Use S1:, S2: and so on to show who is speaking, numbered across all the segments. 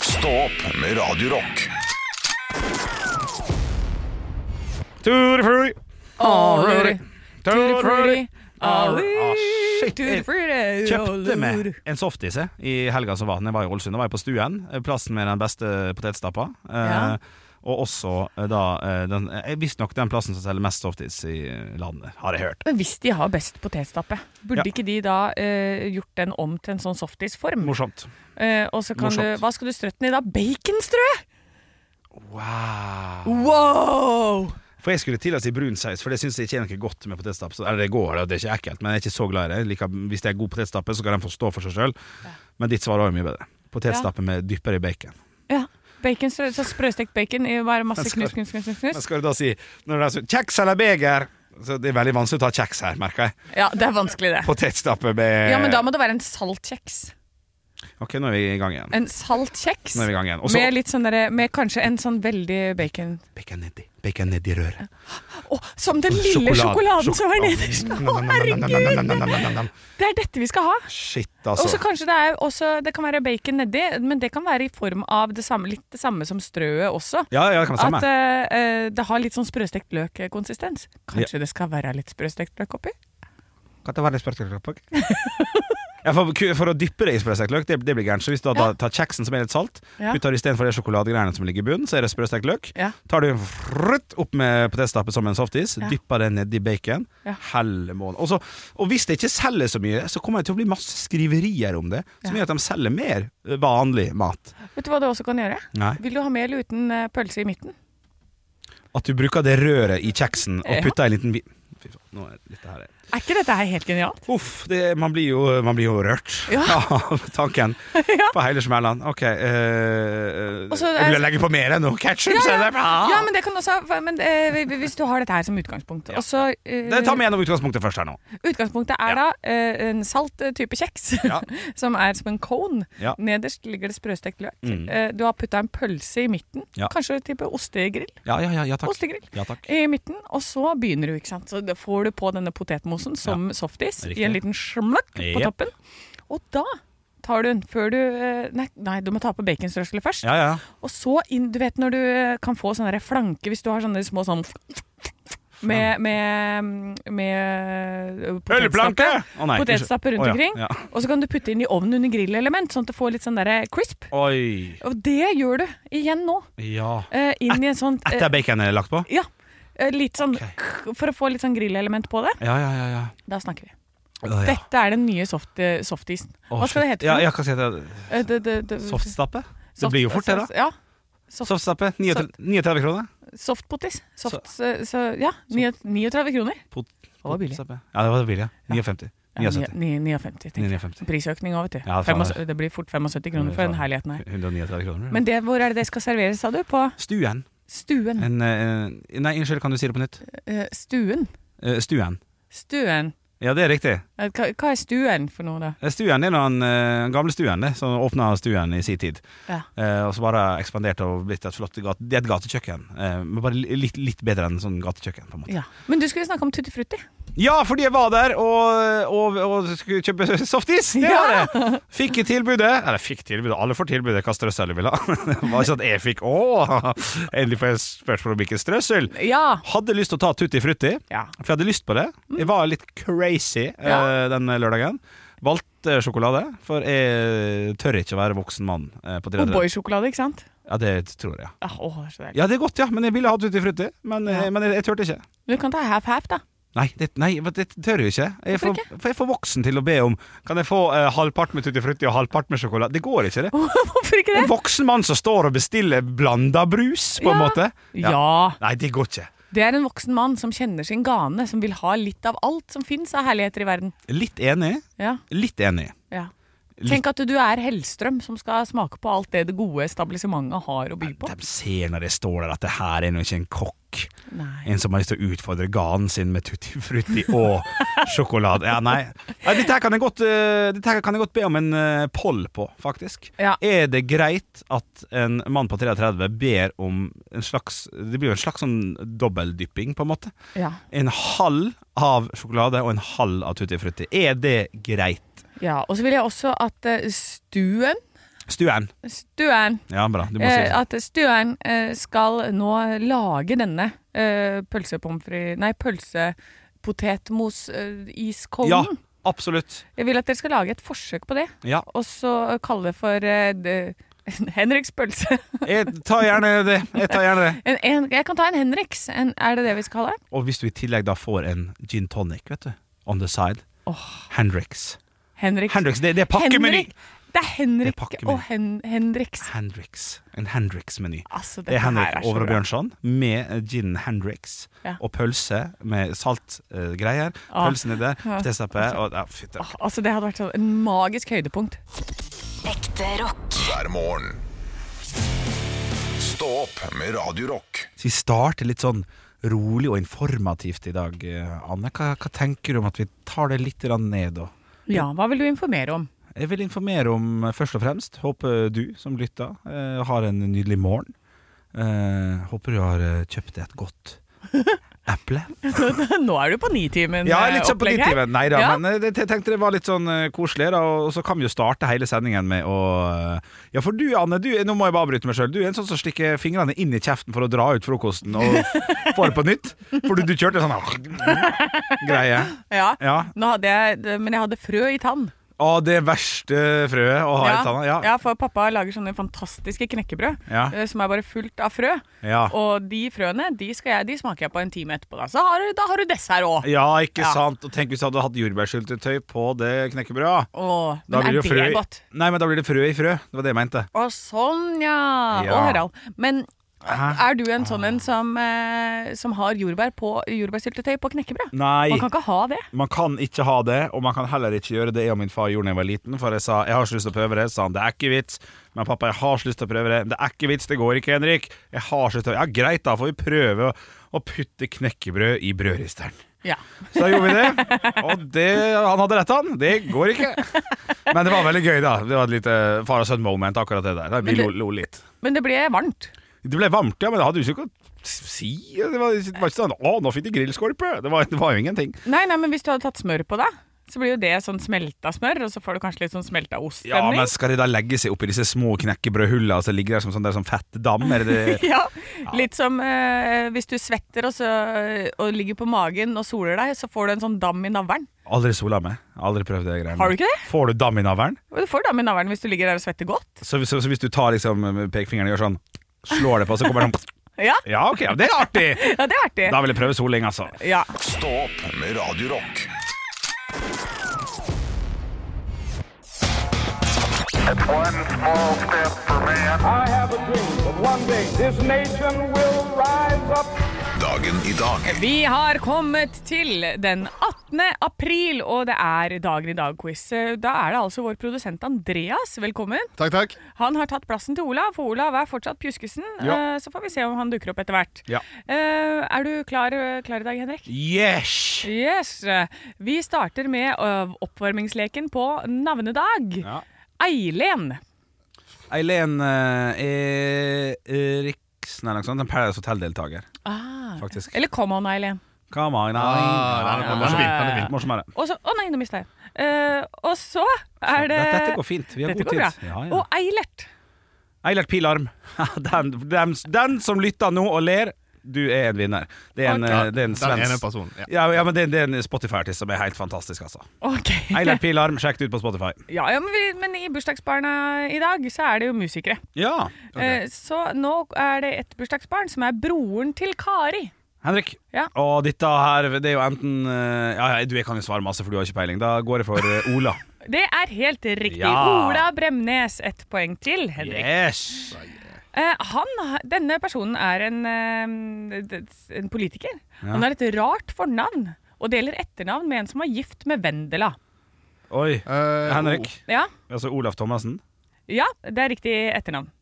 S1: Stå opp med Radio Rock.
S2: Tutti frutti.
S3: Already. Tutti frutti.
S2: Ah, shit.
S3: Tutti
S2: Jeg
S3: frutti.
S2: kjøpte meg en softis jeg, i helga som var. Når jeg var i Ålesund, da var jeg på Stuen. eh, Plassen med den beste potetstappa. Eh,
S3: Ja.
S2: Og også eh, da eh, den, eh, Visstnok den plassen som selger mest softis i landet, har jeg hørt.
S3: Men hvis de har best potetstappe,
S2: Ja.
S3: burde ikke de da eh, gjort den om til en sånn softisform?
S2: Morsomt.
S3: Eh, og så kan
S2: Morsomt.
S3: du Hva skal du strøtte den i da? Baconstrø?
S2: Wow.
S3: Wow!
S2: For jeg skulle til å si brun saus, for det syns jeg ikke er noe godt med potetstappe. Så- Eller det går, og det er ikke ekkelt, men jeg er ikke så glad i det. Jeg liker- hvis det er god potetstappe, så kan den få stå for seg sjøl. Men ditt svar var jo mye bedre. Potetstappe med dyppere bacon.
S3: Ja. Baconstrø, så Sprøstekt bacon i bare masse
S2: Men skal-
S3: knus, knus, knus. knus,
S2: Men
S3: knus.
S2: skal du da si når det er sånn, Kjeks eller beger? Så Det er veldig vanskelig å ta kjeks her, merker jeg.
S3: Ja, det er vanskelig, det.
S2: Potetstappe med
S3: Ja, Men da må det være en saltkjeks.
S2: Ok, nå er vi i gang igjen.
S3: En saltkjeks
S2: Nå er vi i gang igjen. Og så
S3: med litt sånn derre Med kanskje en sånn veldig bacon
S2: bacon nedi. Bacon nedi røret.
S3: Å, som den lille
S2: Sjokolade.
S3: sjokoladen som er nederst! Å, herregud!
S2: Herregud!
S3: Det er dette vi skal ha.
S2: Shit,
S3: Og så
S2: altså.
S3: kanskje det er også Det kan være bacon nedi, men det kan være i form av det samme, litt det samme som strøet også.
S2: Ja, ja, det kan være
S3: At
S2: samme.
S3: eh, eh, det har litt sånn sprøstekt løk-konsistens. Kanskje det skal være litt sprøstekt løk oppi?
S2: Kan det være litt sprøyteklokke? ja, for, for å dyppe det i sprøstekt løk, det, det blir gærent. Så hvis du da
S3: Ja.
S2: tar kjeksen som er litt salt,
S3: Ja.
S2: putter istedenfor de sjokoladegreiene som ligger i bunnen, så er det sprøstekt løk.
S3: Ja.
S2: Tar du frutt opp med potetstappe som en softis,
S3: Ja.
S2: dypper det nedi bacon,
S3: Ja.
S2: heller månen. Og, så- og hvis det ikke selger så mye, så kommer det til å bli masse skriverier om det, som
S3: Ja.
S2: gjør at de selger mer eh, vanlig mat.
S3: Vet du hva du også kan gjøre?
S2: Nei.
S3: Vil du ha mel uten eh, pølse i midten?
S2: At du bruker det røret i kjeksen
S3: Ja.
S2: og putter en liten bit Fy faen, nå er dette her
S3: Er ikke dette her helt genialt?
S2: Uff, det, man, blir jo, man blir jo rørt
S3: Ja.
S2: av tanken
S3: Ja.
S2: på hele smellen. Ok, eh,
S3: Og så er-
S2: jeg vil legge på mer enn noe ketsjup.
S3: Ja, ja.
S2: Det, bra.
S3: Ja, men det kan også men, eh, Hvis du har dette her som utgangspunkt. Og så eh,
S2: det tar vi gjennom utgangspunktet først her nå.
S3: Utgangspunktet er da eh, en salt eh, type kjeks,
S2: Ja.
S3: som er som en cone.
S2: Ja.
S3: Nederst ligger det sprøstekt løk.
S2: Mm.
S3: Eh, du har putta en pølse i midten.
S2: Ja.
S3: Kanskje type ostegrill.
S2: Ja, ja, ja, ja takk.
S3: Ostegrill.
S2: Ja, takk.
S3: I midten, og så begynner du, ikke sant. Så da får du på denne potetmosen som softis
S2: Riktig.
S3: i en liten smlakk på
S2: Jep.
S3: toppen. Og da tar du den før du eh, Nei, nei du må ta på baconstrøsselet først.
S2: Ja, ja.
S3: Og så inn Du vet når du eh, kan få sånne der flanke hvis du har sånne små sånn med, med, mm, med eh,
S2: Ølplanke!
S3: potetstappe.
S2: Å, nei,
S3: Potetstappe
S2: unnskyld.
S3: rundt
S2: Å, ja,
S3: omkring.
S2: Ja.
S3: Og så kan du putte inn i ovnen under grillelement, sånn at det får litt sånn der crisp.
S2: Oi.
S3: Og det gjør du igjen nå.
S2: Ja.
S3: eh, Inn i en sånn eh,
S2: Etter baconet er lagt på?
S3: Ja. eh, Litt sånn
S2: Ok.
S3: For å få litt sånn grillelement på det.
S2: Ja, ja, ja. ja.
S3: Da snakker vi.
S2: Å, ja.
S3: Dette er den nye soft, eh, softisen.
S2: Å,
S3: Hva skal det
S2: shit.
S3: hete?
S2: Ja, ja,
S3: for noe?
S2: hva skal det hete?
S3: Eh, det- det- det-
S2: Softstappe? Det
S3: soft-
S2: blir jo fort det, da.
S3: Ja. soft-
S2: Softstappe. 39 kroner.
S3: Softpotis. Soft, så, så, ja, 39 kroner.
S2: Pot-
S3: Det var billig.
S2: Softstappe. Ja, det var billig. ja. 59.
S3: Ja,
S2: 79.
S3: ni- ni- 59, tenker jeg.
S2: 59.
S3: Prisøkning òg, vet du.
S2: Ja, Mm. faen,
S3: Femmas- det blir fort 75 kroner for den herligheten her.
S2: 139 kroner. ja.
S3: Men Mm. det, hvor er det det skal serveres, sa du? På
S2: Stuen.
S3: stuen.
S2: En, en, nei, unnskyld, kan du si det på nytt?
S3: Eh, stuen.
S2: Eh, Stuen.
S3: Stuen.
S2: Ja, det er riktig.
S3: Eh, Hva, hva er stuen for noe, da?
S2: Eh, Stuen er den eh, gamle stuen, det, som åpna stuen i sin tid.
S3: Ja.
S2: Eh, og så bare ekspanderte og blitt et flott gate, Det er et gatekjøkken, eh, men bare li- litt, litt bedre enn sånn gatekjøkken. på en måte
S3: ja. Men du skulle snakke om tutti frutti.
S2: Ja, fordi jeg var der og, og, og skulle kjøpe softis! Det var det! Fikk tilbudet. Eller fikk tilbudet, alle får tilbudet hva strøssel du vil ha. Det var ikke sånn at jeg fikk Å, endelig får jeg spørsmål om hvilken strøssel.
S3: Ja.
S2: Hadde lyst til å ta tutti frutti.
S3: ja.
S2: For jeg hadde lyst på det. Jeg var litt crazy eh, den lørdagen. Valgte sjokolade, for jeg tør ikke å være voksen mann eh, på
S3: Oh,
S2: 30.
S3: O'boy-sjokolade, ikke sant?
S2: Ja, det tror jeg.
S3: Ah, åh, det er så deilig.
S2: Ja, det er godt, ja, men jeg ville hatt Tutti Frutti. Men, eh,
S3: Ja.
S2: men jeg, jeg turte ikke.
S3: Du kan ta half-half, da.
S2: Nei, det, nei, vet du, det tør jeg ikke. Jeg er
S3: Hvorfor
S2: for, for jeg er for voksen til å be om Kan jeg få eh, halvpart med Tutti Frutti og halvpart med sjokolade. Det går ikke, det.
S3: Hvorfor ikke det?
S2: En voksen mann som står og bestiller blanda brus, på en
S3: Ja.
S2: måte.
S3: Ja.
S2: Nei, det går ikke.
S3: Det er en voksen mann som kjenner sin gane, som vil ha litt av alt som fins av herligheter i verden.
S2: Litt enig.
S3: Ja,
S2: Litt enig.
S3: ja.
S2: Litt-
S3: Tenk at du er Hellstrøm, som skal smake på alt det det gode establissementet har å by på.
S2: De ser når jeg står der at det her er nå ikke en kokk.
S3: Nei.
S2: En som har lyst til å utfordre ganen sin med tutti frutti og sjokolade. Ja, nei. Ja, dette, her kan jeg godt, eh, dette her kan jeg godt be om en eh, poll på, faktisk.
S3: Ja.
S2: Er det greit at en mann på 33 ber om en slags Det blir jo en slags sånn dobbeldypping, på en måte.
S3: Ja.
S2: En halv av sjokolade og en halv av tutti frutti. Er det greit?
S3: ja. Og så vil jeg også at eh, stuen
S2: Stuen.
S3: Stuen
S2: Ja, bra. Du må si
S3: eh,
S2: det.
S3: At Stuen eh, skal nå lage denne eh, pølsepommes frites Nei, pølsepotetmos-iskollen.
S2: Ja, absolutt.
S3: Jeg vil at dere skal lage et forsøk på det,
S2: Ja.
S3: og så kalle det for eh, det- Henriks pølse.
S2: Jeg tar gjerne det. Jeg tar gjerne det.
S3: En, en, jeg kan ta en Henriks. En, er det det vi skal kalle den?
S2: Og hvis du i tillegg da får en gin tonic, vet du, on the side Hendrix.
S3: Henriks.
S2: Henrix, det, det er pakkemeny!
S3: Henrik. Det
S2: Det
S3: er
S2: er
S3: Henrik
S2: pakkemeny.
S3: og Hen Henriks.
S2: Hendrix. En Hendrix-meny.
S3: Altså,
S2: Det er
S3: dette her
S2: Henrik
S3: så
S2: Over og
S3: bra.
S2: Bjørnson med gin Hendrix
S3: Ja.
S2: og pølse med saltgreier.
S3: Ah.
S2: Pølsen er der,
S3: Ja.
S2: potetstappe og ja, fytti
S3: Åh, Altså, det hadde vært sånn en magisk høydepunkt.
S4: Ekte rock.
S1: hver morgen. Stå opp med Radio Rock.
S2: Så vi starter litt sånn rolig og informativt i dag, eh, Anne. Hva, hva tenker du om at vi tar det litt grann ned? Og?
S3: Ja, hva vil du informere om?
S2: Jeg vil informere om, eh, først og fremst, håper du som lytter eh, har en nydelig morgen. Eh, håper du har eh, kjøpt deg et godt eple.
S3: Nå er du på eh, Nitimen-opplegg
S2: Ja, litt sånn på litt i Nei da,
S3: Ja.
S2: men eh, det- jeg tenkte det var litt sånn eh, koselig. Da, og så kan vi jo starte hele sendingen med å eh, Ja, for du Anne, du, nå må jeg bare avbryte meg sjøl. Du er en sånn som stikker fingrene inn i kjeften for å dra ut frokosten og f- få det på nytt. For du, du kjørte sånn greie.
S3: Ja.
S2: Ja.
S3: Nå hadde jeg, men jeg hadde frø i tann.
S2: Å, det verste frøet å ha Ah, i tanna. Ja.
S3: ja, for pappa lager sånne fantastiske knekkebrød
S2: Ja.
S3: eh, som er bare fullt av frø.
S2: Ja.
S3: Og de frøene de, skal jeg, de smaker jeg på en time etterpå. Da, så har du, da har du dessert òg.
S2: ja, ikke
S3: Ja.
S2: sant. Og tenk hvis du hadde hatt jordbærsyltetøy på det knekkebrødet. Da
S3: Men
S2: blir
S3: er
S2: jo
S3: det
S2: frø i-
S3: godt?
S2: Nei, men da blir det frø i frø. Det var det jeg mente.
S3: Å, sånn, ja.
S2: Ja.
S3: Å, Harald. Men
S2: Hæ? Ah.
S3: er du en sånn en som, eh, som har jordbær på, jordbærsyltetøy på knekkebrød?
S2: Nei.
S3: Man kan ikke ha det.
S2: Man kan ikke ha det, og man kan heller ikke gjøre det jeg og min far gjorde da jeg var liten. For jeg sa jeg har ikke lyst til å prøve det. Så sa han det er ikke vits. Men pappa, jeg har ikke lyst til å prøve det. Det er ikke vits, det går ikke, Henrik. Jeg har ikke lyst til å Ja, greit, da får vi prøve å, å putte knekkebrød i brødristeren.
S3: Ja.
S2: Så da gjorde vi det. Og det, han hadde rett, han. Det går ikke. Men det var veldig gøy, da. Det var et lite far og sønn-moment, akkurat det der. Da Vi lo,
S3: Men det-
S2: lo litt.
S3: Men det ble varmt.
S2: Det ble varmt, ja, men det hadde du ikke å si. Det var, det var ikke sånn 'Å, nå fikk de grillskorpe'. Det var, det var jo ingenting.
S3: Nei, nei, men hvis du hadde tatt smør på det, så blir jo det sånn smelta smør, og så får du kanskje litt sånn smelta
S2: Ja,
S3: oststemning.
S2: men skal de da legge seg oppi disse små knekkebrødhullene som ligger der som sånn, der, sånn fett dam? Er det det?
S3: Ja, litt som eh, hvis du svetter og, så, og ligger på magen og soler deg, så får du en sånn dam i navlen.
S2: Aldri sola meg. Aldri prøvd det greiene.
S3: Har du ikke det?
S2: Får du dam i navlen?
S3: Og Du får dam i navlen hvis du ligger der og svetter godt.
S2: Så, så, så hvis du tar liksom pekefingeren og gjør sånn, slår det på, så kommer det sånn
S3: Ja,
S2: Ja, OK, ja, det er artig!
S3: ja det er artig.
S2: Da vil jeg prøve soling, altså.
S3: Ja.
S1: Stå opp med Radio Rock.
S5: One small step for man. I have a dream that one day this nation will rise up.
S1: Dagen i dag
S3: Vi har kommet til den 18. april, og det er Dagen i dag-quiz. Da er det altså vår produsent Andreas. Velkommen.
S6: Takk, takk.
S3: Han har tatt plassen til Olav, for Olav er fortsatt pjuskesen.
S2: Ja.
S3: Eh, Så får vi se om han dukker opp etter hvert.
S2: Ja.
S3: Eh, Er du klar, klar i dag, Henrik?
S2: Yes!
S3: Yes! Vi starter med ø, oppvarmingsleken på navnedag.
S2: Ja.
S3: Eilen.
S2: Eileen eh, er Eriksen eller noe sånt. En Paradise Hotel-deltaker, faktisk.
S3: Eller kom on, Eilen.
S2: Come on,
S6: Ah, nei,
S2: Eileen.
S6: det var så fint, det var fint.
S2: Morsommere.
S3: Og så- Å nei, nå mista jeg. Eh, og så er det
S2: Dette, dette går fint. Vi har
S3: Dette
S2: god tid.
S3: går bra.
S2: Ja, ja.
S3: Og eilert.
S2: Eilert Pilarm. Den, den, den som lytter nå og ler, du er en vinner. Det er en,
S6: Ja,
S2: eh, det er en
S6: Den ene
S2: svensk
S6: personen. Ja.
S2: ja, ja, men det, er- det er en Spotify-artist som er helt fantastisk, altså.
S3: Ok.
S2: Eilert Pilarm, sjekk det ut på Spotify.
S3: Ja, ja, men, vi, men i bursdagsbarna i dag så er det jo musikere.
S2: Ja.
S3: Eh, så nå er det et bursdagsbarn som er broren til Kari.
S2: Henrik.
S3: Ja.
S2: Og dette her, det er jo enten eh, Ja, ja, du jeg kan jo svare masse, for du har ikke peiling. Da går jeg for eh, Ola.
S3: Det er helt riktig.
S2: Ja.
S3: Ola Bremnes. Ett poeng til, Henrik.
S2: Yes!
S3: Eh, han, har- denne personen er en, eh, d- en politiker. Han har et rart fornavn og deler etternavn med en som var gift med Vendela.
S2: Oi.
S6: Eh,
S2: Henrik.
S3: Ja,
S2: Altså Olaf Thomassen.
S3: ja det er riktig etternavn.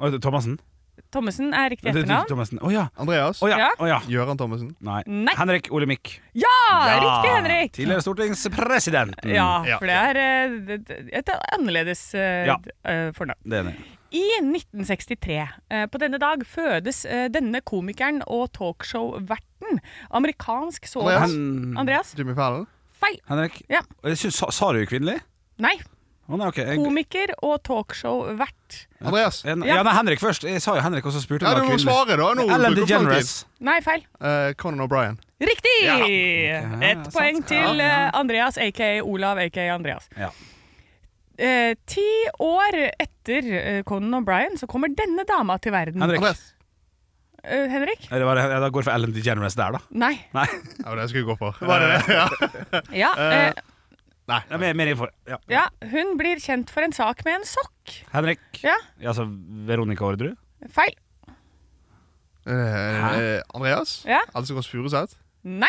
S2: Oi, Thomassen?
S3: Thomassen er riktig
S2: Det- det-
S3: etternavn.
S2: Thomassen. Å ja.
S6: o- oh, Andreas.
S2: Å ja.
S3: Ja.
S2: Å ja.
S6: Gøran Thomassen.
S2: Nei.
S3: Nei.
S2: Henrik Olemic.
S3: Ja, riktig, Henrik!
S2: Tidligere stortingspresidenten.
S3: Ja,
S6: Ja.
S3: for det er eh, d- d- et annerledes eh,
S2: Ja.
S3: d- eh, fornavn.
S2: Det er det.
S3: I 1963, eh, på denne dag, fødes eh, denne komikeren og talkshow-verten. Amerikansk så
S6: Andreas?
S2: Hen
S3: Andreas?
S6: Jimmy Fallon.
S3: Feil!
S2: Henrik,
S3: Ja.
S2: jeg synes, sa, sa du kvinnelig?
S3: Nei.
S2: Å, nei, ok. Jeg-
S3: Komiker og talkshow-vert.
S6: Andreas.
S2: En-
S3: Ja.
S2: Ja, nei, Henrik først. Jeg sa jo Henrik, og så spurte
S6: Ja,
S2: jeg
S6: du
S2: om
S6: må
S2: det var
S6: svare, da. Nå
S2: Ellen
S6: bruker du lang tid.
S2: DeGeneres.
S3: Nei, feil.
S6: Eh, Conan O'Brien.
S3: Riktig!
S6: Ja.
S3: Ett
S2: sant.
S3: poeng til eh, Andreas, aka Olav, aka Andreas.
S2: Ja.
S3: Eh, ti år etter eh, Conan O'Brien så kommer denne dama til verden.
S2: Henrik.
S6: Andreas.
S3: Eh, Henrik?
S2: Ja, det var, ja, da går det for Ellen DeGeneres der, da.
S3: Nei.
S2: Nei,
S6: Ja, det var det jeg skulle gå for. Var det det? Ja.
S3: Ja, eh,
S6: Nei.
S2: det er mer, mer info. Ja.
S3: ja, hun blir kjent for en sak med en sokk.
S2: Henrik.
S3: Ja,
S2: Ja, altså Veronica Orderud.
S3: feil.
S6: Eh, Andreas?
S3: Ja.
S6: Else Kåss Furuseth?
S3: Nei.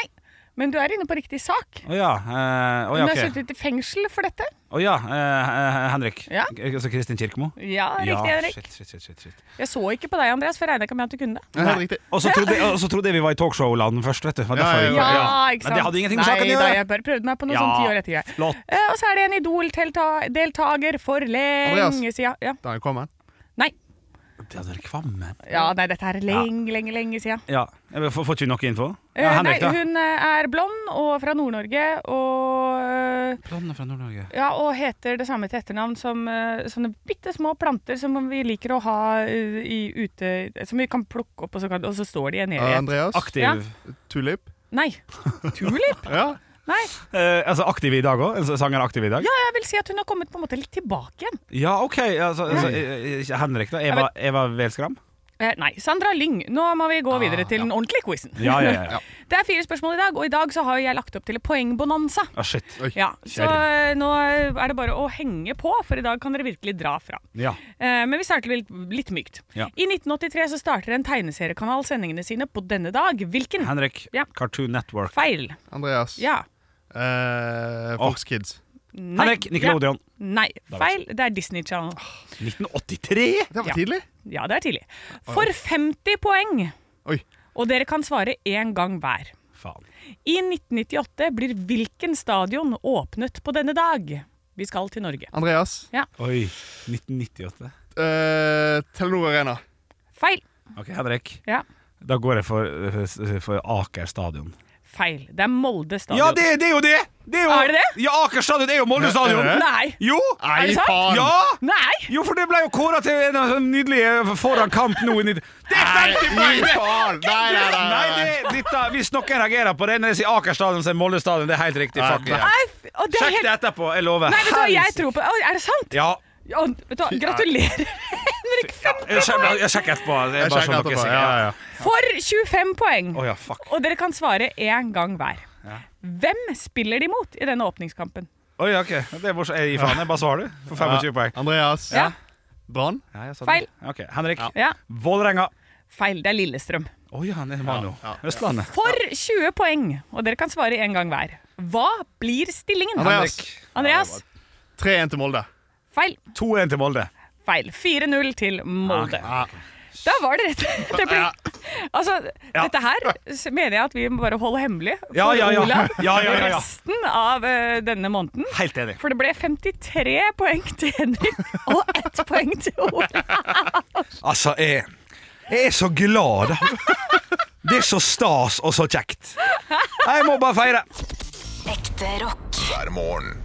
S3: Men du er inne på riktig sak.
S2: Å ja. eh, Å
S3: Hun
S2: ja,
S3: har
S2: ok.
S3: sittet i fengsel for dette.
S2: Å ja, eh, eh, Henrik.
S3: Ja.
S2: K- Altså Kristin Kirkemo.
S3: Ja, riktig,
S2: ja,
S3: Henrik.
S2: Shit, shit, shit, shit, shit.
S3: Jeg så ikke på deg, Andreas, for jeg regna ikke med at du kunne det.
S6: Nei, helt riktig.
S2: Og så trodde, og så trodde jeg vi var i talkshow-land først, vet du. Det var
S6: Ja,
S2: derfor jeg-
S6: ja,
S3: ikke sant?
S2: Men det hadde ingenting med
S3: Nei,
S2: saken å
S3: da,
S2: gjøre.
S3: Jeg bare prøvde meg på noe
S2: Ja.
S3: sånn ti år etter. jeg.
S2: Flott.
S3: Eh, og så er det en Idol-deltaker for lenge
S6: Andreas.
S3: siden. Ja.
S6: Daniel Kvammen.
S3: Nei.
S2: Det hadde vært kvamme.
S3: ja, nei, dette er lenge, lenge, lenge siden.
S2: Ja. Jeg vil- Får får ikke vi noe info?
S3: Eh,
S2: Ja, Henrik,
S3: nei,
S2: da.
S3: hun eh, er blond og fra Nord-Norge og eh,
S2: Planene fra Nord-Norge.
S3: ja, og heter det samme til etternavn som eh, sånne bitte små planter som vi liker å ha eh, i, ute Som vi kan plukke opp, og så, kan, og så står de i en
S6: Eh,
S3: helhet.
S6: Andreas.
S2: Aktiv.
S3: Ja.
S6: Tulip.
S3: Nei. Tulip?
S6: Ja.
S3: Nei.
S2: Eh, altså aktiv i dag òg? Sangeren aktiv i dag?
S3: Ja, jeg vil si at hun har kommet på en måte litt tilbake igjen.
S2: Ja, OK. Altså, altså, eh, eh, Henrik, da. Eva, Eva Welskram?
S3: Eh, nei, Sandra Lyng. Nå må vi gå
S2: Ah,
S3: videre til den ordentlige quizen.
S2: Ja, ja, ja. ja.
S3: Det er fire spørsmål i dag, og i dag så har jo jeg lagt opp til en poengbonanza.
S2: Ah, shit.
S3: Ja, så eh, nå er det bare å henge på, for i dag kan dere virkelig dra fra.
S2: Ja.
S3: Eh, Men vi starter litt, litt mykt.
S2: Ja.
S3: I 1983 så starter en tegneseriekanal sendingene sine på denne dag. Hvilken?
S2: Henrik,
S3: Ja.
S2: Cartoon Network.
S3: Feil.
S6: Andreas.
S3: Ja.
S6: Eh, Fox Kids.
S3: Nei.
S2: Henrik, Nickelodeon.
S3: Ja. Nei.
S2: var
S3: Feil. Det er Disney Channel.
S2: 1983?
S6: Det var
S3: Ja.
S6: tidlig.
S3: Ja, det er tidlig. For 50 poeng,
S6: Oi.
S3: og dere kan svare én gang hver.
S2: Faen.
S3: I 1998 blir hvilken stadion åpnet på denne dag? Vi skal til Norge.
S6: Andreas.
S2: Oi. 1998.
S6: Eh, Telenor Arena.
S3: Feil.
S2: OK, Henrik.
S3: Ja.
S2: Da går jeg for, eh, s- for Aker stadion.
S3: Feil. Det er Molde stadion.
S2: Ja, det, det er jo det! det er, jo,
S3: Er det det?
S2: Ja, Aker stadion er jo Molde
S6: Er
S2: stadion!
S6: det det?
S3: Nei.
S2: Jo!
S6: Nei,
S3: det sant?
S6: faen!
S2: Ja!
S3: Nei!
S2: Jo, for det ble jo kåra til en av sånne nydelige foran kamp nå i nitt- Det er
S6: Nei,
S2: 50 poeng! det!
S6: faen! Nei, nei, nei,
S2: Nei,
S6: nei.
S2: det, dette, hvis noen reagerer på det når jeg sier Aker stadion, så er Molde stadion. Det er helt riktig. Fuck
S6: Nei.
S2: yeah.
S3: Nei, f- og det er
S2: Sjekk
S3: helt...
S2: det etterpå. Jeg lover.
S3: Nei, vet du hva, jeg
S2: Helsike.
S3: tror på Å, Er det sant?
S2: Ja.
S3: Å, vet du hva, gratulerer, Henrik.
S2: Jeg sjekker, jeg sjekker etterpå. Det er
S6: Jeg
S2: bare
S6: sjekker
S2: sånn dere
S6: etterpå.
S2: sier.
S6: Ja, ja, ja.
S3: For 25 poeng.
S2: Å ja, fuck.
S3: Og dere kan svare én gang hver. Hvem spiller de mot i denne åpningskampen?
S2: Oi, ok. Det er mors- jeg gir faen. Jeg bare svarer, du. For 25 poeng.
S6: Andreas.
S3: Ja.
S6: Brann.
S2: Ja, jeg sa det.
S3: Feil.
S2: Ok, Henrik.
S3: Ja,
S2: Vålerenga.
S3: Feil. Det er Lillestrøm.
S2: Å ja, det var nå.
S6: Ja,
S2: Østlandet.
S3: For 20 poeng, og dere kan svare én gang hver. Hva blir stillingen?
S6: Andreas.
S3: Andreas?
S6: 3-1 til Molde.
S3: Feil.
S2: 2-1 til Molde.
S3: Feil. 4-0 til
S2: Ah,
S3: Molde.
S6: Ja.
S3: Da var det rett. Det ble, altså, Dette her s- mener jeg at vi må bare holde hemmelig for
S2: Ja, ja, ja.
S3: Olav
S2: Ja, ja, ja, ja.
S3: resten av eh, denne måneden.
S2: Helt enig.
S3: For det ble 53 poeng til Henrik og ett poeng til Olav.
S2: Altså, jeg, jeg er så glad, da. Det er så stas og så kjekt. Jeg må bare feire.
S4: Ekte rock.
S1: hver morgen.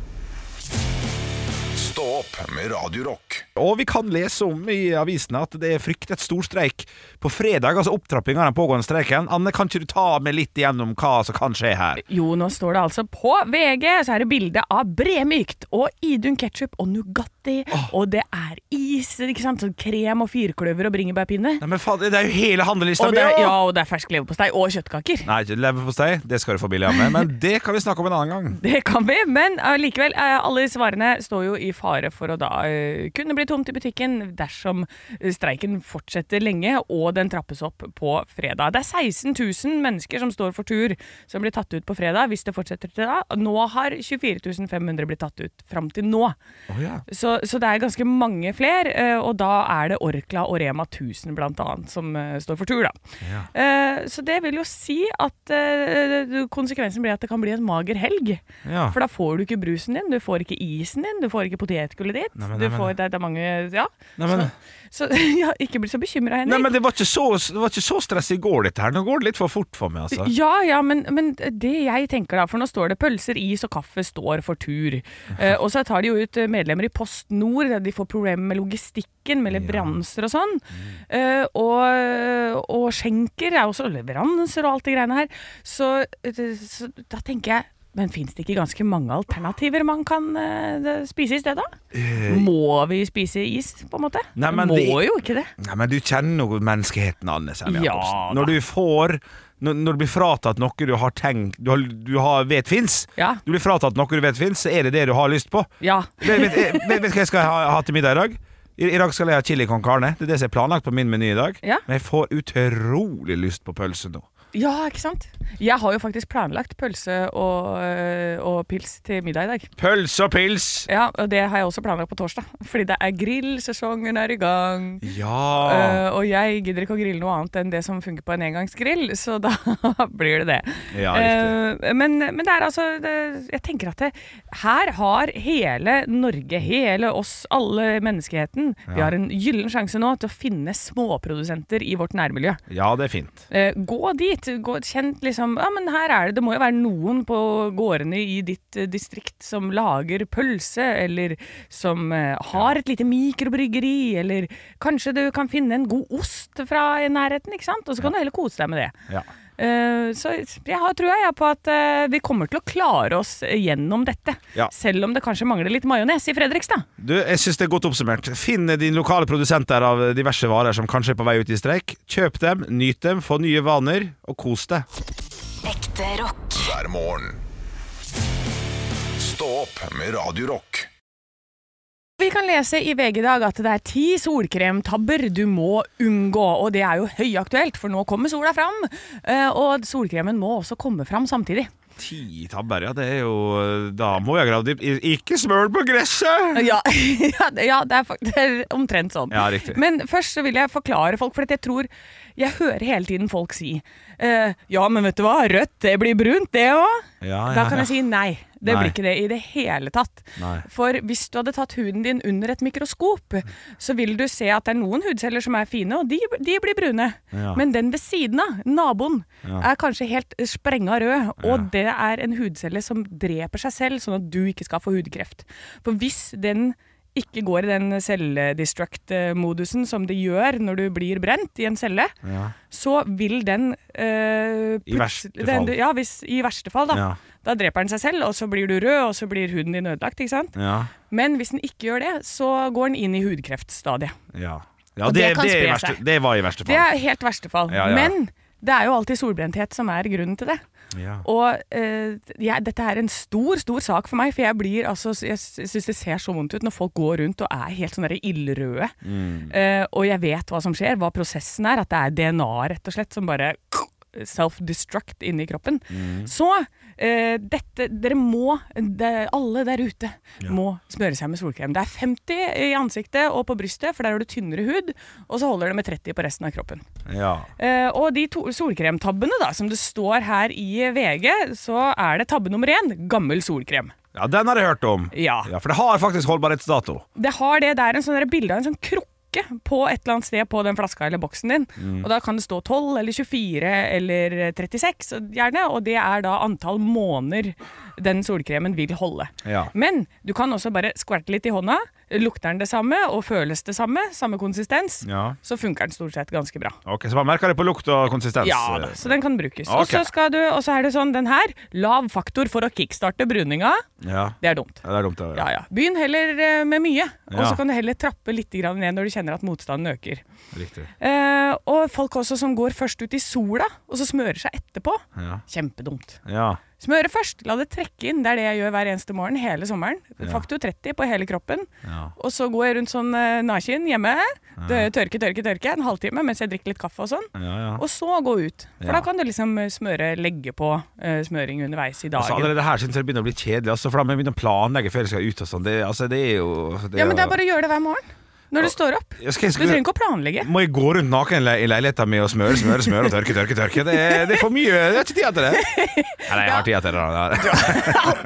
S1: Stå opp med Radio Rock.
S2: Og vi kan lese om i avisene at det er fryktet stor streik på fredag. Altså opptrapping av den pågående streiken. Anne, kan ikke du ta meg litt igjennom hva som kan skje her?
S3: Jo, nå står det altså på VG, så er det bilde av bremykt og Idun ketsjup og Nugatti, og det er is, ikke sant? Sånn krem og firkløver og bringebærpinne.
S2: Nei, men faen, det er jo hele handlelista
S3: Og det er, ja, og det er fersk leverpostei og kjøttkaker.
S2: Nei, ikke leverpostei. Det skal du få billig av meg, men det kan vi snakke om en annen gang.
S3: Det kan vi, men eh, likevel, eh, alle svarene står jo i fare for å da eh, kunne bli tomt i butikken dersom eh, streiken fortsetter lenge og den trappes opp på fredag. Det er 16 000 mennesker som står for tur som blir tatt ut på fredag hvis det fortsetter til da. Nå har 24 500 blitt tatt ut fram til nå.
S2: Å ja.
S3: Så, så det er ganske mange fler, eh, og da er det Orkla og Rema 1000 blant annet som eh, står for tur, da. Eh, Så det vil jo si at eh, du- konsekvensen blir at det kan bli en mager helg.
S2: Ja.
S3: For da får du ikke brusen din, du får ikke isen din, du får ikke potetgullet ditt.
S2: Nei, men-
S3: du
S2: nei, men-
S3: får, det, det er mange Ja.
S2: Nei, men,
S3: Så ja, ikke bli så bekymra, Henrik.
S2: nei, men det, var ikke så, det var ikke så stress i går, dette her. Nå går det litt for fort for meg, altså.
S3: Ja, ja, men, men det jeg tenker da, for nå står det pølser, is og kaffe står for tur. Eh, og så tar de jo ut medlemmer i Post Nord, der de får problemer med logistikken, med leveranser og sånn.
S2: Mm.
S3: Eh, og, og skjenker er også leveranser og alt det greiene her. Så, eh, det- så da tenker jeg men fins det ikke ganske mange alternativer man kan eh, det- spise i stedet? Må vi spise is, på en måte?
S2: Eh. Nei, men
S3: Må
S2: det-
S3: jo ikke det.
S2: Nei, men du kjenner jo menneskeheten, Anne Sem
S3: Ja,
S2: Jacobsen.
S3: da.
S2: Når du får når, når du blir fratatt noe du har tenkt Du, har, du har, vet fins.
S3: Ja.
S2: Du blir fratatt noe du vet fins, så er det det du har lyst på.
S3: Ja.
S2: Vet, vet, vet, vet du hva jeg skal ha, ha til middag i dag? I, I dag skal jeg ha chili con carne. Det er det som er planlagt på min meny i dag.
S3: Ja.
S2: Men jeg får utrolig lyst på pølse nå.
S3: Ja, ikke sant? Jeg har jo faktisk planlagt pølse og, øh, og pils til middag i dag.
S2: Pølse og pils!
S3: Ja, og det har jeg også planlagt på torsdag. Fordi det er grillsesongen er i gang.
S2: Ja.
S3: Øh, og jeg gidder ikke å grille noe annet enn det som funker på en engangsgrill, så da blir det det.
S2: Ja, riktig.
S3: Øh, men, men det er altså det, Jeg tenker at det, her har hele Norge, hele oss, alle menneskeheten, vi har en gyllen sjanse nå til å finne småprodusenter i vårt nærmiljø.
S2: ja, det er fint.
S3: Eh, gå dit. Gå, kjent liksom Ja, men her er det Det må jo være noen på gårdene i ditt eh, distrikt som lager pølse, eller som eh, har et lite mikrobryggeri, eller kanskje du kan finne en god ost fra i nærheten, ikke sant? Og så kan du heller kose deg med det.
S2: Ja.
S3: Eh, så jeg har trua jeg på at eh, vi kommer til å klare oss gjennom dette.
S2: Ja.
S3: Selv om det kanskje mangler litt majones i Fredrikstad.
S2: Du, jeg synes det er godt oppsummert. Finn din lokale produsenter av diverse varer som kanskje er på vei ut i streik. Kjøp dem, nyt dem, få nye vaner, og kos deg.
S4: Ekte rock.
S1: hver morgen. Stå opp med Radio Rock.
S3: Vi kan lese i VG i dag at det er ti solkremtabber du må unngå. Og det er jo høyaktuelt, for nå kommer sola fram. eh, Og solkremen må også komme fram samtidig.
S2: Ti tabber, ja, det er jo eh, Da må jeg grave dypt. I- Ikke smør på gresset!
S3: Ja, ja, det- ja det er faktisk omtrent sånn.
S2: Mm. Ja, riktig.
S3: Men først så vil jeg forklare folk, for at jeg tror Jeg hører hele tiden folk si eh, Ja, men vet du hva, rødt det blir brunt, det òg.
S2: Ja, ja,
S3: da kan
S2: ja.
S3: jeg si nei. Det
S2: Nei.
S3: blir ikke det i det hele tatt.
S2: Nei.
S3: For hvis du hadde tatt huden din under et mikroskop, så vil du se at det er noen hudceller som er fine, og de, de blir brune.
S2: Ja.
S3: Men den ved siden av, naboen, er kanskje helt sprenga rød, og det er en hudcelle som dreper seg selv, sånn at du ikke skal få hudkreft. For hvis den ikke går i den selvdestruct-modusen som det gjør når du blir brent i en celle, så vil den eh,
S2: I verste
S3: plutselig-
S2: fall.
S3: Den, ja, hvis, I verste fall, da.
S2: Ja.
S3: Da dreper den seg selv, og så blir du rød, og så blir huden din ødelagt. ikke sant?
S2: Ja.
S3: Men hvis den ikke gjør det, så går den inn i hudkreftstadiet.
S2: ja. ja
S3: Og
S2: det,
S3: det kan
S2: det, er i
S3: spre
S2: verste,
S3: seg.
S2: det var i verste
S3: Det
S2: fall.
S3: er helt verste fall.
S2: Ja, ja.
S3: Men det er jo alltid solbrenthet som er grunnen til det.
S2: Ja.
S3: Og eh, jeg, dette er en stor, stor sak for meg, for jeg blir altså Jeg syns det ser så vondt ut når folk går rundt og er helt sånn derre ildrøde.
S2: Mm,
S3: Eh, og jeg vet hva som skjer, hva prosessen er. At det er DNA, rett og slett, som bare self-destruct inni kroppen. Så eh, dette Dere må det, Alle der ute må smøre seg med solkrem. Det er 50 i ansiktet og på brystet, for der har du tynnere hud. Og så holder det med 30 på resten av kroppen.
S2: Ja.
S3: Eh, og de to solkremtabbene da, som det står her i VG, så er det tabbe nummer én gammel solkrem.
S2: ja, den har jeg hørt om.
S3: Ja.
S2: For det har faktisk holdbarhetsdato.
S3: Det har det, det er en sånn der bilde av en sånn krukke på et eller annet sted på den flaska eller boksen din. Og da kan det stå 12 eller 24 eller 36 og gjerne, og det er da antall måneder den solkremen vil holde.
S2: Ja.
S3: Men du kan også bare skverte litt i hånda, lukter den det samme og føles det samme, samme konsistens,
S2: Ja.
S3: så funker den stort sett ganske bra.
S2: Ok, Så man merker det på lukt og konsistens.
S3: Ja da, så den kan brukes.
S2: Ok.
S3: Og så skal du, og så er det sånn, den her, lav faktor for å kickstarte bruninga.
S2: Ja.
S3: Det er dumt.
S2: Ja, det er dumt. det,
S3: Ja, ja. Begynn heller eh, med mye, og
S2: Ja.
S3: så kan du heller trappe litt grann ned når du kjenner at motstanden øker.
S2: Riktig.
S3: Eh, og folk også som går først ut i sola, og så smører seg etterpå.
S2: Ja.
S3: Kjempedumt.
S2: Ja.
S3: Smøre først, la det trekke inn. Det er det jeg gjør hver eneste morgen hele sommeren. Faktor 30 på hele kroppen.
S2: Ja.
S3: Og så går jeg rundt sånn eh, naken hjemme, dø- tørke, tørke, tørke en halvtime mens jeg drikker litt kaffe og sånn.
S2: ja, ja.
S3: Og så gå ut. For
S2: Ja.
S3: da kan du liksom eh, smøre, legge på eh, smøring underveis
S2: Altså,
S3: i dagen.
S2: allerede her synes jeg det begynner å bli kjedelig, altså, for da må jeg begynne å planlegge før jeg skal ut og sånn. Det, altså, det er jo det
S3: ja, men det
S2: jo-
S3: er bare å gjøre det hver morgen. når du står opp.
S2: Jeg skal- jeg
S3: Du
S2: skal-
S3: trenger ikke å planlegge.
S2: Må jeg gå rundt naken i le- i leiligheten min og smøre, smøre, smøre og tørke, tørke, tørke? Det er, det er for mye. Jeg har ikke tid til det. Eller jeg har tid til det. da.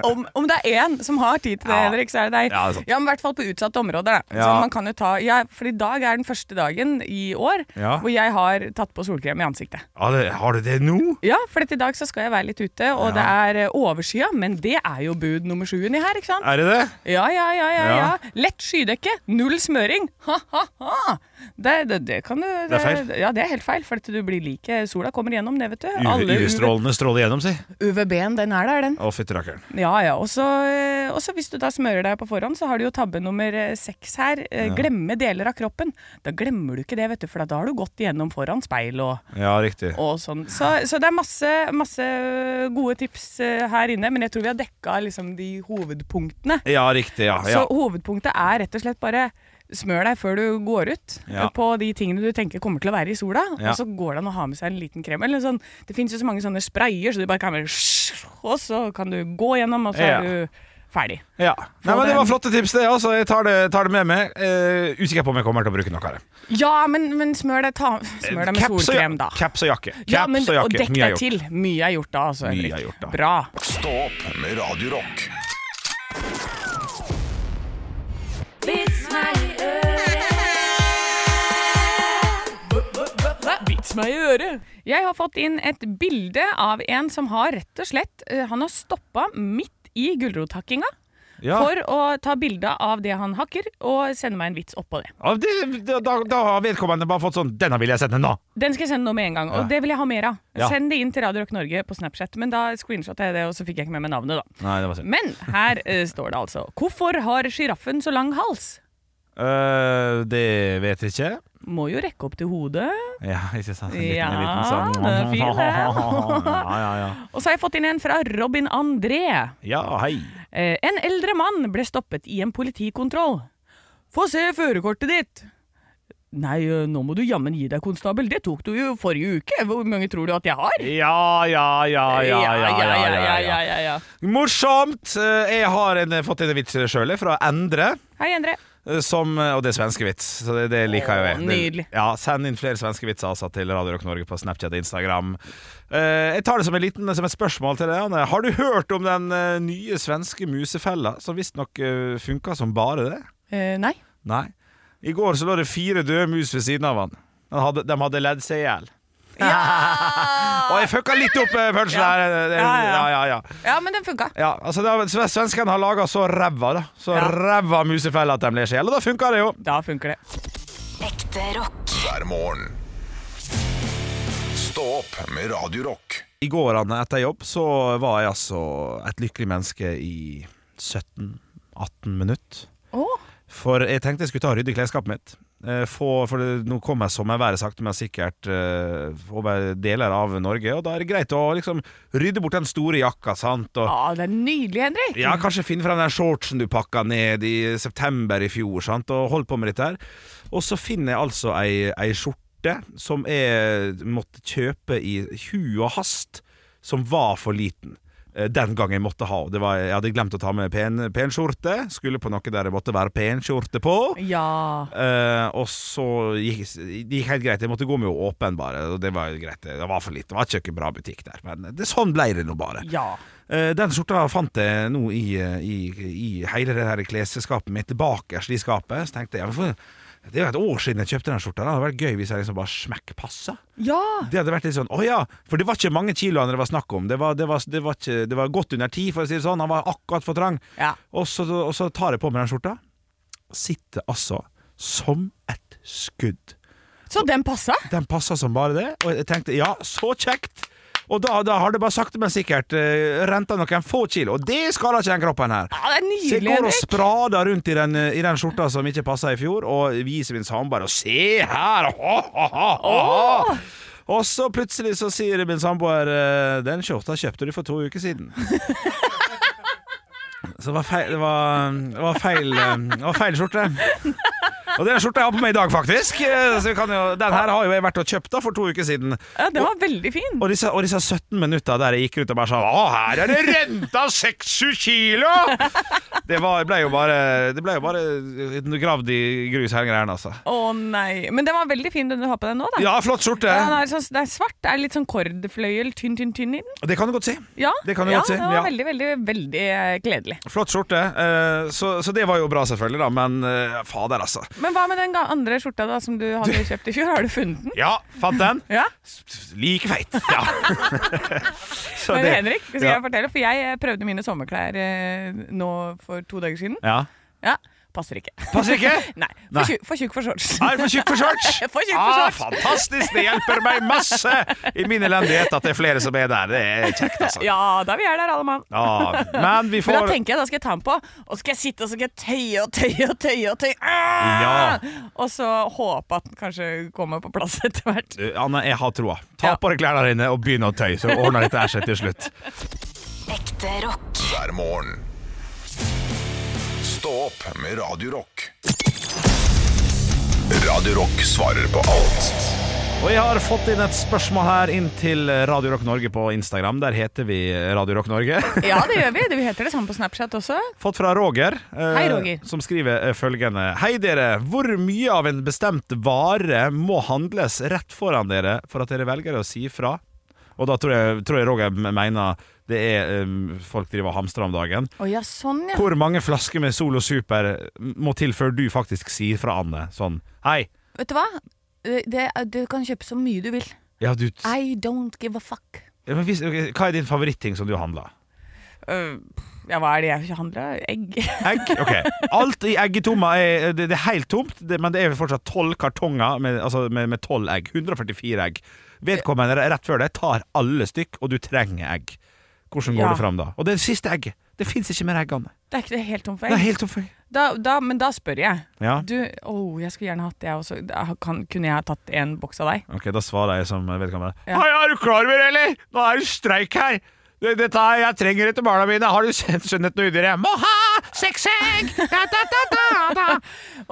S3: om, om det er én som har tid til det,
S2: Ja.
S3: Henrik, så er det deg.
S2: Ja, det er sant.
S3: men I hvert fall på utsatte områder. Da.
S2: Ja.
S3: Så man kan jo ta, ja, for i dag er den første dagen i år
S2: Ja.
S3: hvor jeg har tatt på solkrem i ansiktet.
S2: Ja, det- Har du det nå?
S3: Ja, for i dag så skal jeg være litt ute, og det er eh, overskya, men det er jo bud nummer sju inni her, ikke sant?
S2: Er det det?
S3: Ja, ja, ja, ja, ja.
S2: Ja.
S3: Lett skydekke, null smøring. Ha, ha, ha. Det, det, det kan du
S2: Det er feil.
S3: Ja, det er helt feil, for at du blir like Sola kommer igjennom det, vet du. U-
S2: UV-strålene stråler gjennom, si.
S3: UVB-en, den er der, den.
S2: Å, fytti rakkeren.
S3: Ja, ja. Og så eh, og så hvis du da smører deg på forhånd, så har du jo tabbe nummer eh, seks her. Eh, Glemme deler av kroppen. Da glemmer du ikke det, vet du, for da har du gått igjennom foran speil og,
S2: Ja, riktig.
S3: og sånn. Så, så det er masse, masse gode tips eh, her inne, men jeg tror vi har dekka liksom de hovedpunktene.
S2: Ja, riktig, ja.
S3: Så
S2: ja.
S3: hovedpunktet er rett og slett bare smør deg før du går ut eh,
S2: Ja.
S3: på de tingene du tenker kommer til å være i sola,
S2: Ja.
S3: og så går det an å ha med seg en liten krem. Eller sånn, det fins jo så mange sånne sprayer, så du bare kan bare Og så kan du gå gjennom, og så
S2: Ja.
S3: er du ferdig.
S2: ja. Nei, men Det
S3: den.
S2: var flotte tips, det. altså Jeg tar det, tar det med meg. Eh, usikker på om jeg kommer til å bruke noe av det.
S3: Ja, men, men smør deg, ta, smør deg med
S2: Caps og ja-
S3: solkrem, da.
S2: Caps og jakke. Caps
S3: Ja, men,
S2: og
S3: og
S2: jakke.
S3: dekk
S2: Mye er
S3: deg
S2: gjort.
S3: til. Mye er gjort da, altså.
S2: Mye
S3: Henrik.
S2: er gjort da.
S3: Bra.
S1: Stå opp med Radio Rock.
S3: Jeg har fått inn et bilde av en som har rett og slett eh, Han har stoppa midt i gulrothakkinga.
S2: Ja.
S3: for å ta bilde av det han hakker, og sende meg en vits oppå det.
S2: Ja, det, da- da, da har vedkommende bare fått sånn 'Denne vil jeg sende nå'.
S3: Den skal jeg sende nå med en gang, og
S2: Ja.
S3: det vil jeg ha mer av.
S2: Ja.
S3: Send det inn til Radio Rock Norge på Snapchat, men da screenshotet jeg det, og så fikk jeg ikke med meg navnet, da.
S2: Nei, det var synd.
S3: Men her eh, står det altså Hvorfor har sjiraffen så lang hals?
S2: Eh, det vet jeg ikke.
S3: Må jo rekke opp til hodet.
S2: Ja, ikke sant? En
S3: Ja,
S2: en sånn-
S3: det er fin, det.
S2: ja, ja, ja.
S3: Og så har jeg fått inn en fra Robin André.
S2: ja, hei.
S3: Eh, en eldre mann ble stoppet i en politikontroll. Få se førerkortet ditt! Nei, eh, nå må du jammen gi deg, konstabel. Det tok du jo forrige uke. Hvor mange tror du at jeg har?
S2: Ja, ja, ja, ja, ja, ja, ja, ja.
S3: ja, ja.
S2: Morsomt! Eh, Jeg har en, fått en vits sjøl, fra Endre.
S3: Hei, Endre.
S2: eh, Som, og det er svenskevits, så det, det liker
S3: Åh,
S2: jeg. jo. Det-
S3: nydelig.
S2: Ja, Send inn flere svenskevitser altså, til Radio Rock Norge på Snapchat og Instagram. Eh, jeg tar det som, en liten, som et spørsmål til deg, Anne. Har du hørt om den eh, nye svenske musefella, som visstnok uh, funka som bare det?
S3: Eh, nei.
S2: Nei. I går så lå det fire døde mus ved siden av han. De hadde, de hadde ledd seg i hjel. Og jeg fucka litt opp eh, punchen
S3: Ja.
S2: der. Det-
S3: Ja, ja, ja.
S2: ja, ja, ja.
S3: Ja, men den funka.
S2: Ja, altså det har- sve- Svenskene har laga så ræva da Så
S3: Ja.
S2: ræva musefelle at de ler seg i hjel. Og da funka det jo.
S3: Da funker det.
S4: Ekte rock.
S1: Hver morgen. Stå opp med Radio Rock.
S2: I går Anne, etter jobb så var jeg altså et lykkelig menneske i 17-18 minutter.
S3: Åh.
S2: For jeg tenkte jeg skulle ta og rydde i klesskapet mitt. Eh, Få, for det, nå kommer sommerværet sakte, men sikkert eh, over deler av Norge. Og da er det greit å liksom rydde bort den store jakka, sant. Og,
S3: Ja, det er nydelig, Henrik.
S2: Ja, kanskje finne frem den shortsen du pakka ned i september i fjor, sant? og holdt på med dette her. Og så finner jeg altså ei, ei skjorte som jeg måtte kjøpe i hu og hast, som var for liten. Eh, Den gang jeg måtte ha. og Det var, jeg hadde glemt å ta med pen, pen skjorte. Skulle på noe der jeg måtte være pen skjorte på.
S3: Ja.
S2: Eh, og så gikk det gikk helt greit. Jeg måtte gå med jo åpen, bare. Og det var jo greit. Det var for lite. Det var ikke noen bra butikk der. Men det, sånn ble det nå bare.
S3: Ja.
S2: Eh, Den skjorta fant jeg nå i, eh, i, i hele det her klesskapet mitt, bakerst i skapet. Så tenkte jeg, ja, men for- det er jo et år siden jeg kjøpte den skjorta. da. Det hadde vært gøy hvis jeg liksom bare smekkpassa.
S3: Ja.
S2: Det hadde vært litt sånn, å ja, for det var ikke mange kiloene det var snakk om. Det var, det var, det var, ikke, det var godt under ti, for å si det sånn. Han var akkurat for trang.
S3: Ja.
S2: Og, så, og så tar jeg på meg den skjorta. Sitter altså som et skudd.
S3: Så den passa?
S2: Den passa som bare det. Og jeg tenkte ja, så kjekt! Og da, da har det bare sakte, men sikkert uh, renta noen få kilo. Og det skader ikke den kroppen her.
S3: Ja,
S2: Så
S3: det er
S2: jeg
S3: nydelig,
S2: går og
S3: Henrik.
S2: sprader rundt i den, eh, i den skjorta som ikke passa i fjor, og viser min samboer og se her! Ha, ha, ha, ha, ha. Og så plutselig så sier min samboer eh, Den skjorta kjøpte du for to uker siden. Så det var feil Det var, det var, feil, eh, det var feil skjorte. Og det er en skjorte jeg har på meg i dag, faktisk. Eh, Så vi kan jo, den her har jo jeg vært og kjøpt da for to uker siden.
S3: Ja, den var veldig fin.
S2: Og disse, og disse 17 minutta der jeg gikk rundt og bare sa Å, her er det renta 60 kilo! Det, var, ble jo bare, det ble jo bare gravd i grus, hele greia, altså.
S3: Å nei. Men den var veldig fin, den du har på deg nå. da
S2: Ja, flott skjorte!
S3: Ja, den er sånn, Det er svart. Det er litt sånn kordfløyel, tynn, tynn, tynn i den.
S2: Det kan du godt si.
S3: Ja,
S2: Det kan du
S3: ja,
S2: godt si,
S3: Den var
S2: ja.
S3: veldig, veldig, veldig eh, kledelig.
S2: Flott skjorte. eh, Så, så det var jo bra, selvfølgelig, da, men eh, fader, altså.
S3: Men hva med den ga- andre skjorta da som du hadde kjøpt i fjor? Har du funnet den?
S2: Ja, fant den.
S3: Ja,
S2: Like feit. Ja. Så
S3: men
S2: det-
S3: Henrik, skal
S2: ja.
S3: jeg fortelle? For jeg eh, prøvde mine sommerklær eh, nå for to dager siden.
S2: Ja.
S3: Ja, passer ikke.
S2: Passer ikke?
S3: Nei,
S2: Nei.
S3: for, Tjukk, for tjukk for shorts.
S2: Er for tjukk for shorts?
S3: For tjukk for
S2: Ah,
S3: shorts.
S2: fantastisk! Det hjelper meg masse i min elendighet at det er flere som er der. Det er kjekt, altså.
S3: Ja, da vi er der alle mann.
S2: Ja, men vi
S3: Men da
S2: får
S3: tenker jeg, da skal jeg ta den på, og så skal jeg sitte og så skal jeg tøye og tøye og tøye. Og tøye
S2: Ja.
S3: Ah! Og så håpe at den kanskje kommer på plass etter hvert.
S2: Du, Anne, jeg har troa. Ta
S3: Ja.
S2: på deg klærne dine og begynn å tøye, så ordner dette her seg til slutt.
S4: Ekte rock.
S1: hver morgen. Stå opp med Radio Rock. Radio Rock svarer på alt
S2: Og jeg har fått inn et spørsmål her inn til Radio Rock Norge på Instagram. Der heter vi Radio Rock Norge.
S3: Ja, det gjør vi. Det heter det samme på Snapchat også.
S2: Fått fra Roger, eh,
S3: Hei, Roger.
S2: som skriver eh, følgende. Hei dere, hvor mye av en bestemt vare må handles rett foran dere for at dere velger å si fra? Og da tror jeg, tror jeg Roger mener det er eh, folk driver og hamstrer om dagen.
S3: Å ja, sånn ja.
S2: Hvor mange flasker med Solo Super må til før du faktisk sier fra Anne sånn Hei,
S3: Vet du hva? Det, du kan kjøpe så mye du vil.
S2: ja, du,
S3: I don't give a fuck.
S2: Ja, men hvis, ok, hva er din favoritting som du handler?
S3: Øh, ja, hva er det jeg handler? Egg?
S2: Egg? Ok. Alt i eggetomma er, det, det er helt tomt, det, men det er fortsatt tolv kartonger med altså med- med tolv egg. 144 egg. Vedkommende rett før deg tar alle stykk, og du trenger egg. Hvordan går
S3: Ja.
S2: det fram da? Og det er det siste egget. Det fins ikke mer egg, Anne.
S3: Det er ikke det helt tomt for
S2: Det er
S3: egg.
S2: helt tomt.
S3: Da, da, men da spør jeg.
S2: Ja.
S3: Du, oh, jeg skulle gjerne hatt det, jeg også. Da Kan, kunne jeg ha tatt en boks av deg?
S2: Ok, da svarer jeg som vedkommende.
S3: Ja.
S2: Hei, er du klar over det, eller? Nå er det streik her! Det- Dette er jeg trenger etter barna mine. Har du skjønt skjønnet noe udyr? Jeg må ha seks egg! Da, da, da, da, da.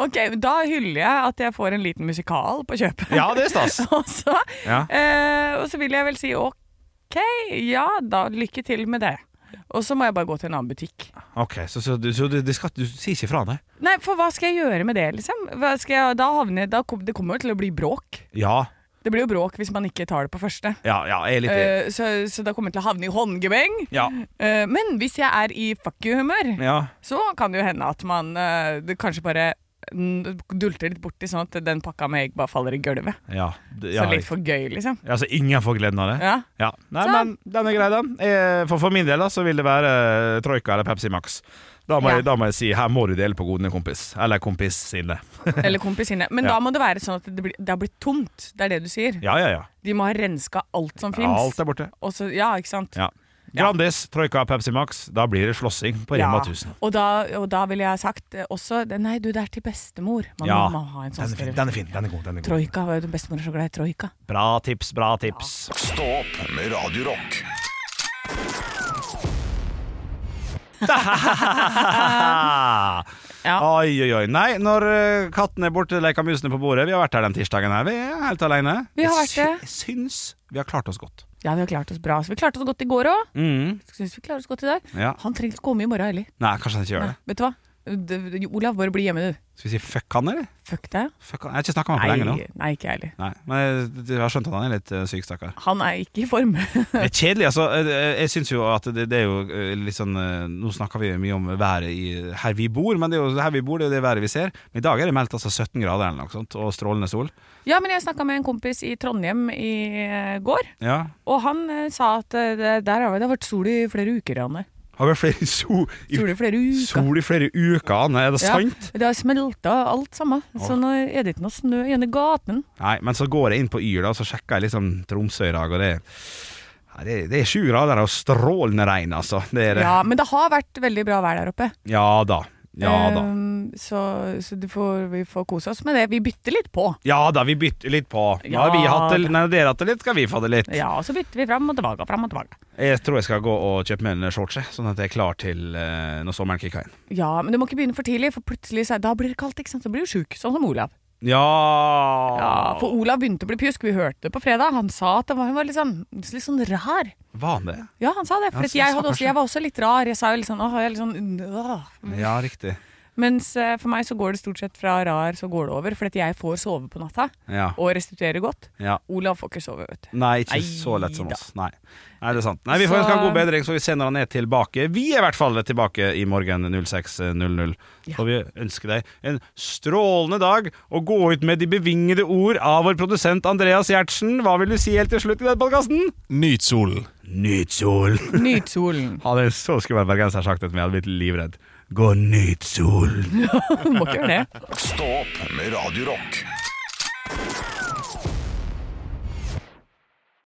S3: Ok, Da hyller jeg at jeg får en liten musikal på kjøpet.
S2: Ja, det er stas.
S3: og, så,
S2: Ja.
S3: eh, og så vil jeg vel si ok, ja da, lykke til med det. Og så må jeg bare gå til en annen butikk.
S2: Ok, så, så, du, så du, det skal, du sier ikke fra, nei?
S3: Nei, for hva skal jeg gjøre med det, liksom? Hva skal jeg, da havner, da kom, det kommer jo til å bli bråk.
S2: Ja,
S3: Det blir jo bråk hvis man ikke tar det på første.
S2: ja, ja jeg er litt
S3: Eh, så, så da kommer jeg til å havne i håndgemeng.
S2: Ja.
S3: Eh, men hvis jeg er i fuck you-humør,
S2: ja.
S3: så kan det jo hende at man eh, det kanskje bare mm, dulter litt borti, sånn at den pakka med egg bare faller i gulvet.
S2: ja, d-
S3: Så
S2: ja
S3: litt for gøy, liksom.
S2: Ja, så ingen får gleden av det?
S3: Ja.
S2: Nei,
S3: Så-
S2: men den er grei, den. Eh, For, for min del da, så vil det være eh, Troika eller Pepsi Max. Da må,
S3: Ja.
S2: jeg, da må jeg si her må du dele på godene, kompis. Eller kompis sine.
S3: Eller kompisene. Men
S2: Ja.
S3: da må det være sånn at det, blir, det har blitt tomt. Det er det du sier.
S2: Ja, ja, ja.
S3: De må ha renska alt som fins.
S2: Alt er borte.
S3: Og så, ja, ikke sant?
S2: Ja. Grandis, Troika, Pepsi Max. Da blir det slåssing på Rema
S3: Ja.
S2: 1000.
S3: Og, da, og da ville jeg sagt eh, også det- Nei, du, det er til bestemor. Man
S2: Ja.
S3: må ha en sånn
S2: Den er fin,
S3: stereotyp.
S2: den er fin. Den er god. Den er god.
S3: Troika. hva er det, Bestemor er så glad i troika.
S2: Bra tips, bra tips.
S1: Stå opp med Radio Rock
S2: Ah.
S3: Ja.
S2: Oi, oi, oi. Nei, når eh, katten er borte, leker musene på bordet. Vi har vært her den tirsdagen her. Vi er helt alene.
S3: Vi har
S2: Jeg
S3: vært det.
S2: sy- Jeg syns vi har klart oss godt.
S3: Ja, vi har klart oss bra. Så vi klarte oss godt i går òg.
S2: Mm.
S3: Syns vi klarer oss godt i dag.
S2: Ja.
S3: Han trenger ikke komme i morgen heller.
S2: Nei, kanskje han ikke gjør
S3: Nei,
S2: det.
S3: Vet du hva? D- d- Olav, bare bli hjemme, du.
S2: Skal vi si fuck han, eller?
S3: Fuck deg.
S2: Fuck han. Jeg har ikke snakka med
S3: Nei,
S2: han på Ah, lenge nå.
S3: nei, ikke jeg heller.
S2: Nei, Men jeg, jeg har skjønt at han er litt eh, syk, stakkar.
S3: Han er ikke i form.
S2: Det er kjedelig, altså. Jeg- Jeg syns jo at det, det er jo eh, litt sånn eh, Nå snakker vi mye om været i, her vi bor, men det er jo her vi bor, det er jo det været vi ser. Men i dag er det meldt altså 17 grader eller noe sånt, og strålende sol.
S3: ja, men jeg snakka med en kompis i Trondheim i eh, går,
S2: Ja.
S3: og han eh, sa at eh, det- der har vi- det har vært sol i flere uker, Anne.
S2: Har vært flere sol i,
S3: Sol i flere uker.
S2: sol i flere uker, Anne. Er det
S3: Ja,
S2: sant?
S3: det har smelta alt sammen. Så nå er det ikke noe snø igjen i gaten.
S2: Nei, men så går jeg inn på Yr, da, og så sjekker jeg liksom Tromsø i dag, og det ja, det, det er sju grader og strålende regn, altså. Det er det.
S3: Ja, men det har vært veldig bra vær der oppe.
S2: Ja da. Ja da.
S3: Ehm, så så du får, vi får kose oss med det. Vi bytter litt på.
S2: Ja da, vi bytter litt på. Nå har
S3: Ja
S2: vi hatt det,
S3: da.
S2: nei, dere hatt det litt, skal vi få det litt.
S3: Ja, og så bytter vi fram og tilbake. Fram og tilbake.
S2: Jeg tror jeg skal gå og kjøpe meg en shorts, jeg, sånn at jeg er klar til eh, når sommeren kicker inn.
S3: Ja, men du må ikke begynne for tidlig, for plutselig så, da blir det kaldt. ikke sant? Så blir du sjuk, sånn som Olav.
S2: Ja,
S3: Ja, for Olav begynte å bli pjusk. Vi hørte det på fredag. Han sa at det var, hun var litt sånn, litt sånn rar.
S2: Var han det?
S3: Ja, han sa det. For
S2: Ja,
S3: at
S2: så-
S3: jeg,
S2: så
S3: hadde også,
S2: kanskje.
S3: jeg var også litt rar. Jeg sa jo litt sånn åh, jeg er litt sånn åh.
S2: Ja, riktig.
S3: Mens eh, for meg så går det stort sett fra rar så går det over. For at jeg får sove på natta
S2: Ja.
S3: og restituere godt.
S2: ja.
S3: Olav får ikke sove, vet du.
S2: Nei, ikke
S3: Nei
S2: så lett som
S3: da.
S2: oss. Nei, Nei det er sant. Nei, Vi får
S3: Så-
S2: ønske han god bedring, så vi ser når han er tilbake. Vi er i hvert fall tilbake i morgen 06.00. Så vi ønsker deg en strålende dag, og gå ut med de bevingede ord av vår produsent Andreas Gjertsen. Hva vil du si helt til slutt i denne podkasten?
S6: Nyt solen.
S2: Nyt sol.
S3: Nyt solen.
S2: Hadde jeg så skummel bergenser sagt det til meg, hadde jeg blitt livredd. Gå nyt solen.
S3: Må ikke gjøre det.
S1: Stå opp med Radio Rock.